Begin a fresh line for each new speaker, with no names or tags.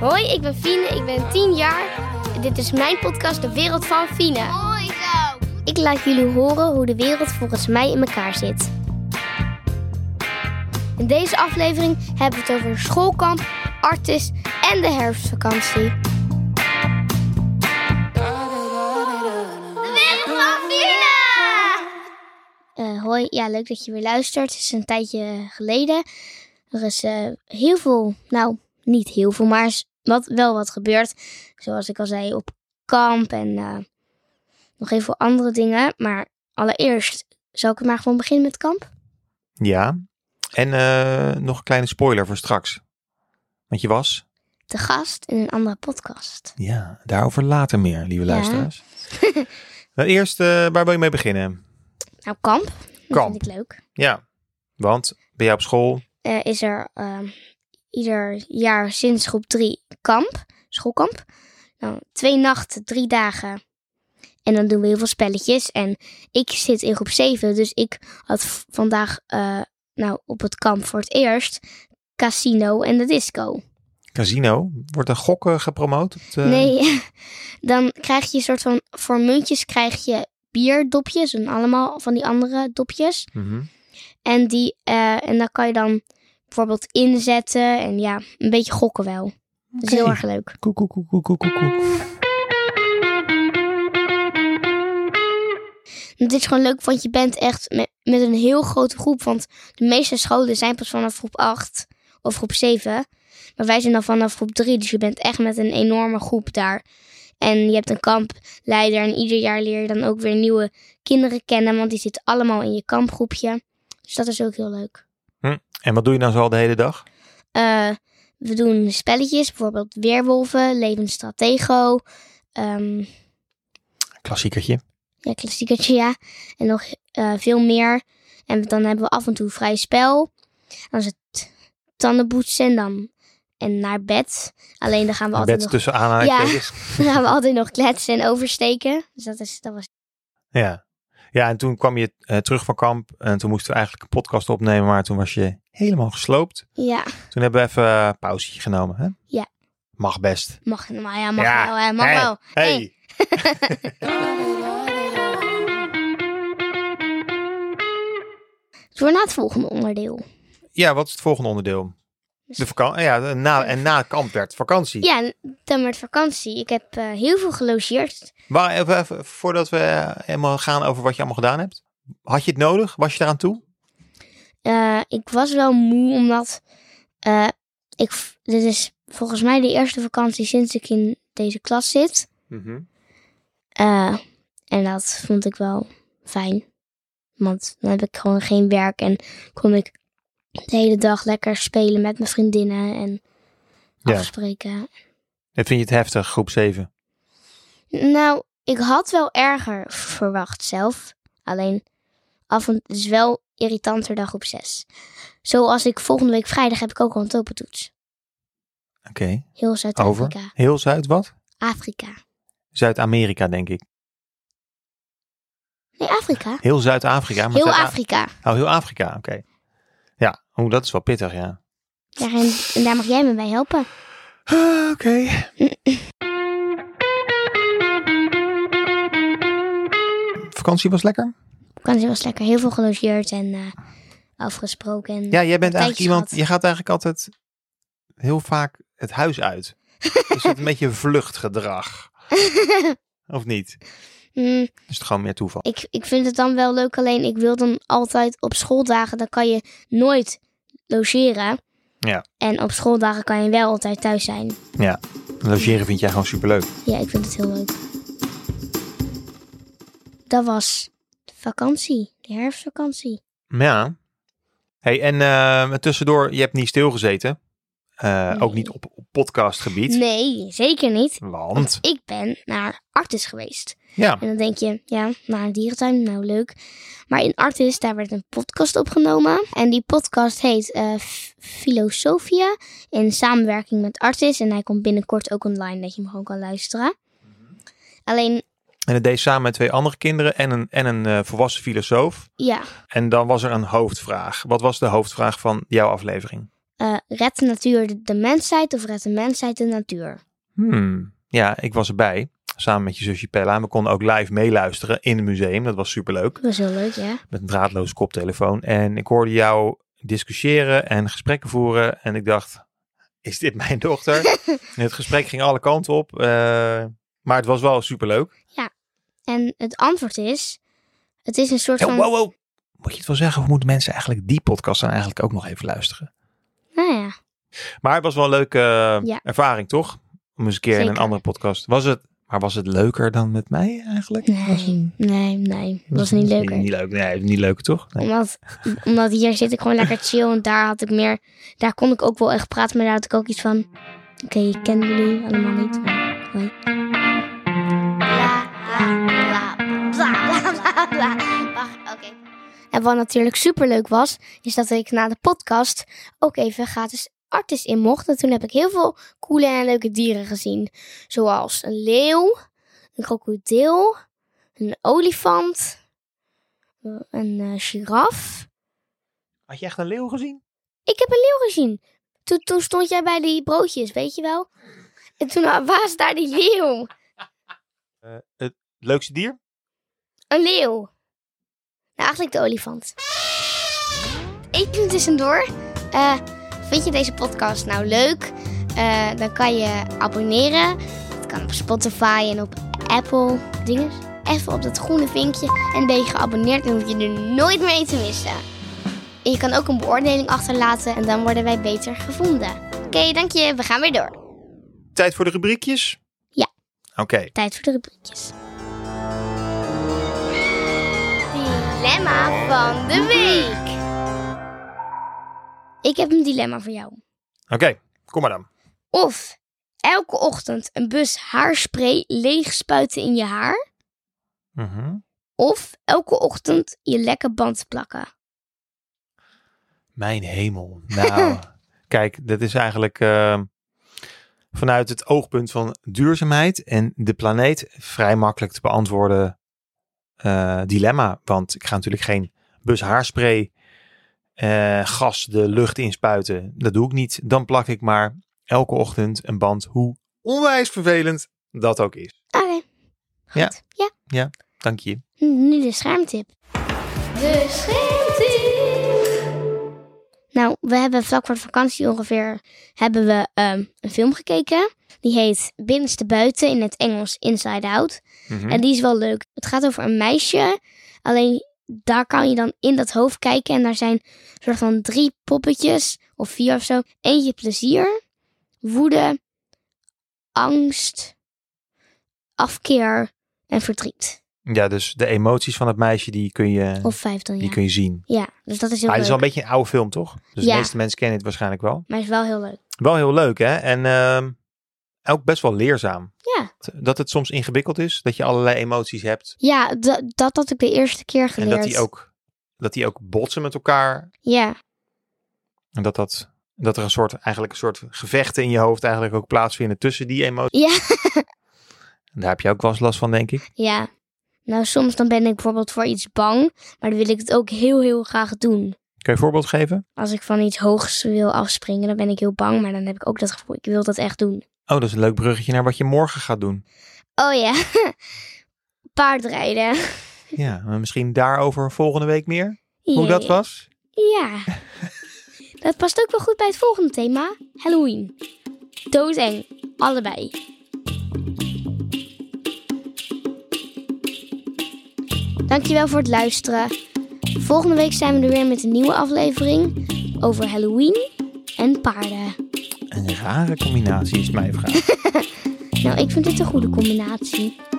Hoi, ik ben Fine, ik ben 10 jaar. Dit is mijn podcast De Wereld van Fine.
Mooi zo.
Ik laat jullie horen hoe de wereld volgens mij in elkaar zit. In deze aflevering hebben we het over een schoolkamp, artis en de herfstvakantie.
De wereld van Fina!
Eh, hoi, ja, leuk dat je weer luistert. Het is een tijdje geleden. Er is eh, heel veel, nou, niet heel veel, maar is wat, wel wat gebeurd. Zoals ik al zei, op kamp en eh, nog heel veel andere dingen. Maar allereerst, zal ik maar gewoon beginnen met kamp?
Ja. En eh, nog een kleine spoiler voor straks. Want je was?
Te gast in een andere podcast.
Ja, daarover later meer, lieve
Ja.
luisteraars. Nou, Eerst, eh, waar wil je mee beginnen?
Nou, kamp. Dat
Kamp.
vind ik leuk.
Ja, want ben jij op school?
eh, is er ehm, ieder jaar sinds groep 3 kamp, schoolkamp. Nou, twee nachten, drie dagen. En dan doen we heel veel spelletjes. En ik zit in groep 7, dus ik had v- vandaag eh, nou, op het kamp voor het eerst casino en de disco.
Casino? Wordt er gokken gepromoot? op de-
Nee, dan krijg je een soort van, voor muntjes krijg je bierdopjes en allemaal van die andere dopjes.
Mhm.
En, die, eh, en dan kan je dan bijvoorbeeld inzetten en ja, een beetje gokken wel. Dat is heel
Oké.
erg leuk.
Koek, koek, koek, koek, koek, koek, koek.
Het is gewoon leuk, want je bent echt met, met een heel grote groep. Want de meeste scholen zijn pas vanaf groep 8 of groep 7. Maar wij zijn dan vanaf groep 3, dus je bent echt met een enorme groep daar. En je hebt een kampleider en ieder jaar leer je dan ook weer nieuwe kinderen kennen. Want die zitten allemaal in je kampgroepje. Dus dat is ook heel leuk.
En wat doe je dan zoal de hele dag?
Eh, we doen spelletjes, bijvoorbeeld Weerwolven, Levend Stratego. ehm,
Klassiekertje.
ja, klassiekertje, ja. En nog eh, veel meer. En dan hebben we af en toe vrij spel. Dan is het tanden poetsen en dan en naar bed. Alleen dan gaan we, altijd
Bed
nog,
tussen aanhalingstekens.
dan gaan we altijd nog kletsen en oversteken. Dus dat, is, dat was...
Ja. ja. en toen kwam je eh, terug van kamp. En toen moesten we eigenlijk een podcast opnemen. Maar toen was je helemaal gesloopt.
Ja,
Toen hebben we even eh, een pauzetje genomen, hè?
Ja.
Mag best.
mag, maar ja, mag
Ja,
wel, hè, mag
hey,
wel. Hey.
Hey.
Door naar het volgende onderdeel.
Ja, wat is het volgende onderdeel? De vakantie. Ja, na, en na kamp werd vakantie.
Dus Ja, en dan werd vakantie. Ik heb eh, heel veel gelogeerd.
Maar even, even voordat we eh, helemaal gaan over wat je allemaal gedaan hebt. Had je het nodig? Was je eraan toe?
Eh, ik was wel moe omdat eh, ik, v- dit is volgens mij de eerste vakantie sinds ik in deze klas zit.
Mhm.
Eh, en dat vond ik wel fijn. Want dan heb ik gewoon geen werk en kon ik de hele dag lekker spelen met mijn vriendinnen en
Ja.
afspreken.
En Vind je het heftig, groep 7?
Nou, ik had wel erger verwacht zelf. Alleen af en het is wel irritanter dan groep 6. Zoals ik volgende week vrijdag heb ik ook al een topentoets.
Oké.
Heel Zuid-Afrika.
Heel Zuid wat?
Afrika.
Zuid-Amerika, denk ik.
Nee, Afrika.
Heel Zuid-Afrika. maar
Heel
Zuid-A-
Afrika.
Oh, heel Afrika, oké. Ja, oh, dat is wel pittig, ja.
Daar, en, en daar mag jij me bij helpen.
Ah, Oké. Vakantie was lekker?
Vakantie was lekker. Heel veel gelogeerd en eh, afgesproken. En,
Ja, jij bent
Een
eigenlijk
tijdje
iemand,
gehad.
je gaat eigenlijk altijd heel vaak het huis uit. Is het een beetje vluchtgedrag? Of niet?
Mm,
Is het gewoon meer toeval?
ik, ik vind het dan wel leuk. Alleen ik wil dan altijd op schooldagen. Dan kan je nooit logeren.
Ja.
En op schooldagen kan je wel altijd thuis zijn.
Ja, logeren vind jij gewoon superleuk.
Ja, ik vind het heel leuk. Dat was de vakantie. De herfstvakantie.
Ja. Hey, en eh, tussendoor, je hebt niet stilgezeten. Eh,
Nee.
Ook niet op, op podcastgebied.
Nee, zeker niet.
Want,
Ik ben naar Artis geweest.
ja,
En dan denk je, ja, naar een dierentuin, nou leuk. Maar in Artis, daar werd een podcast opgenomen. En die podcast heet eh, F- Filosofia in samenwerking met Artis. En hij komt binnenkort ook online, dat je hem gewoon kan luisteren. Alleen,
en het deed samen met twee andere kinderen en een, en een eh, volwassen filosoof.
ja,
En dan was er een hoofdvraag. Wat was de hoofdvraag van jouw aflevering?
eh, redt de natuur de, de mensheid of redt de mensheid de natuur?
Hmm. Ja, ik was erbij. Samen met je zusje Pella. En we konden ook live meeluisteren in het museum. Dat was superleuk.
Dat was heel leuk, ja.
Met een draadloze koptelefoon. En ik hoorde jou discussiëren en gesprekken voeren. En ik dacht, is dit mijn dochter? en het gesprek ging alle kanten op. eh, maar het was wel superleuk.
En het antwoord is, het is een soort
Hey,
van...
wow, wow. Moet je het wel zeggen? Of moeten mensen eigenlijk die podcast dan eigenlijk ook nog even luisteren?
Nou ja,
Maar het was wel een leuke eh,
Ja.
ervaring, toch? Om eens een keer in een
Zeker.
andere podcast. Was het, maar was het leuker dan met mij eigenlijk? Was-
nee, nee, nee. Dat was niet leuker.
Niet leuk, nee, niet leuk toch? Nee.
Omdat, omdat hier zit ik gewoon lekker chill en daar had ik meer... Daar kon ik ook wel echt praten, maar daar had ik ook iets van... Oké, ik ken jullie allemaal niet. maar hoi.
Bla bla bla bla bla bla. Wacht, oké.
En wat natuurlijk superleuk was, is dat ik na de podcast ook even gratis artis in mocht. En toen heb ik heel veel coole en leuke dieren gezien. Zoals een leeuw, een krokodil, een olifant, een eh, giraf.
Had je echt een leeuw gezien?
Ik heb een leeuw gezien. Toen, toen stond jij bij die broodjes, weet je wel? En toen was daar die leeuw.
het leukste dier?
Een leeuw. Nou, eigenlijk de olifant. Even tussendoor. Eh, vind je deze podcast nou leuk? Eh, dan kan je abonneren. Dat kan op Spotify en op Apple. Dingen. Even op dat groene vinkje en ben je geabonneerd. Dan hoef je er nooit meer een te missen. En je kan ook een beoordeling achterlaten en dan worden wij beter gevonden. Oké, dank je. We gaan weer door.
Tijd voor de rubriekjes?
Ja.
Oké.
Tijd voor de rubriekjes. Dilemma van de week. Ik heb een dilemma voor jou.
Oké, kom maar dan.
Of elke ochtend een bus haarspray leeg spuiten in je haar.
Mhm.
Of elke ochtend je lekke band plakken.
Mijn hemel. Nou, kijk, dat is eigenlijk eh, vanuit het oogpunt van duurzaamheid en de planeet vrij makkelijk te beantwoorden eh, dilemma. Want ik ga natuurlijk geen bus haarspray eh, gas de lucht inspuiten. Dat doe ik niet. Dan plak ik maar elke ochtend een band, hoe onwijs vervelend dat ook is.
Oké.
Ja.
Goed. Ja.
Dank je.
Nu de schermtip.
De schermtip.
Nou, we hebben vlak voor de vakantie ongeveer hebben we, ehm, een film gekeken. Die heet Binnenste Buiten, in het Engels Inside Out.
Mhm.
En die is wel leuk. Het gaat over een meisje. Alleen daar kan je dan in dat hoofd kijken. En daar zijn soort van drie poppetjes. Of vier of zo. Eentje plezier. Woede. Angst. Afkeer. En verdriet.
Ja, dus de emoties van het meisje, die kun je,
Of vijf dan,
die
ja.
kun je zien.
Ja, dus dat is heel
Maar Ah, het
leuk.
is wel een beetje een oude film, toch? Dus
Ja.
de meeste mensen kennen het waarschijnlijk wel.
Maar het is wel heel leuk.
Wel heel leuk, hè? En ehm, ook best wel leerzaam.
Ja.
Dat het soms ingewikkeld is, dat je allerlei emoties hebt.
Ja, da- dat had ik de eerste keer geleerd.
En dat die, ook, dat die ook botsen met elkaar.
Ja,
En dat, dat, dat er een soort, eigenlijk een soort gevechten in je hoofd eigenlijk ook plaatsvinden tussen die emoties.
Ja.
En daar heb je ook wel eens last van, denk ik.
ja. Nou, soms dan ben ik bijvoorbeeld voor iets bang. Maar dan wil ik het ook heel, heel graag doen.
Kun je een voorbeeld geven?
Als ik van iets hoogs wil afspringen, dan ben ik heel bang. Maar dan heb ik ook dat gevoel, ik wil dat echt doen.
Oh, dat is een leuk bruggetje naar wat je morgen gaat doen.
Oh ja, paardrijden.
Ja, maar misschien daarover volgende week meer. Hoe dat
Jee.
was.
Ja. dat past ook wel goed bij het volgende thema. Halloween. Doodeng. Allebei. Dankjewel voor het luisteren. Volgende week zijn we er weer met een nieuwe aflevering over Halloween en paarden.
Een rare combinatie is mijn vraag.
Nou, ik vind dit een goede combinatie.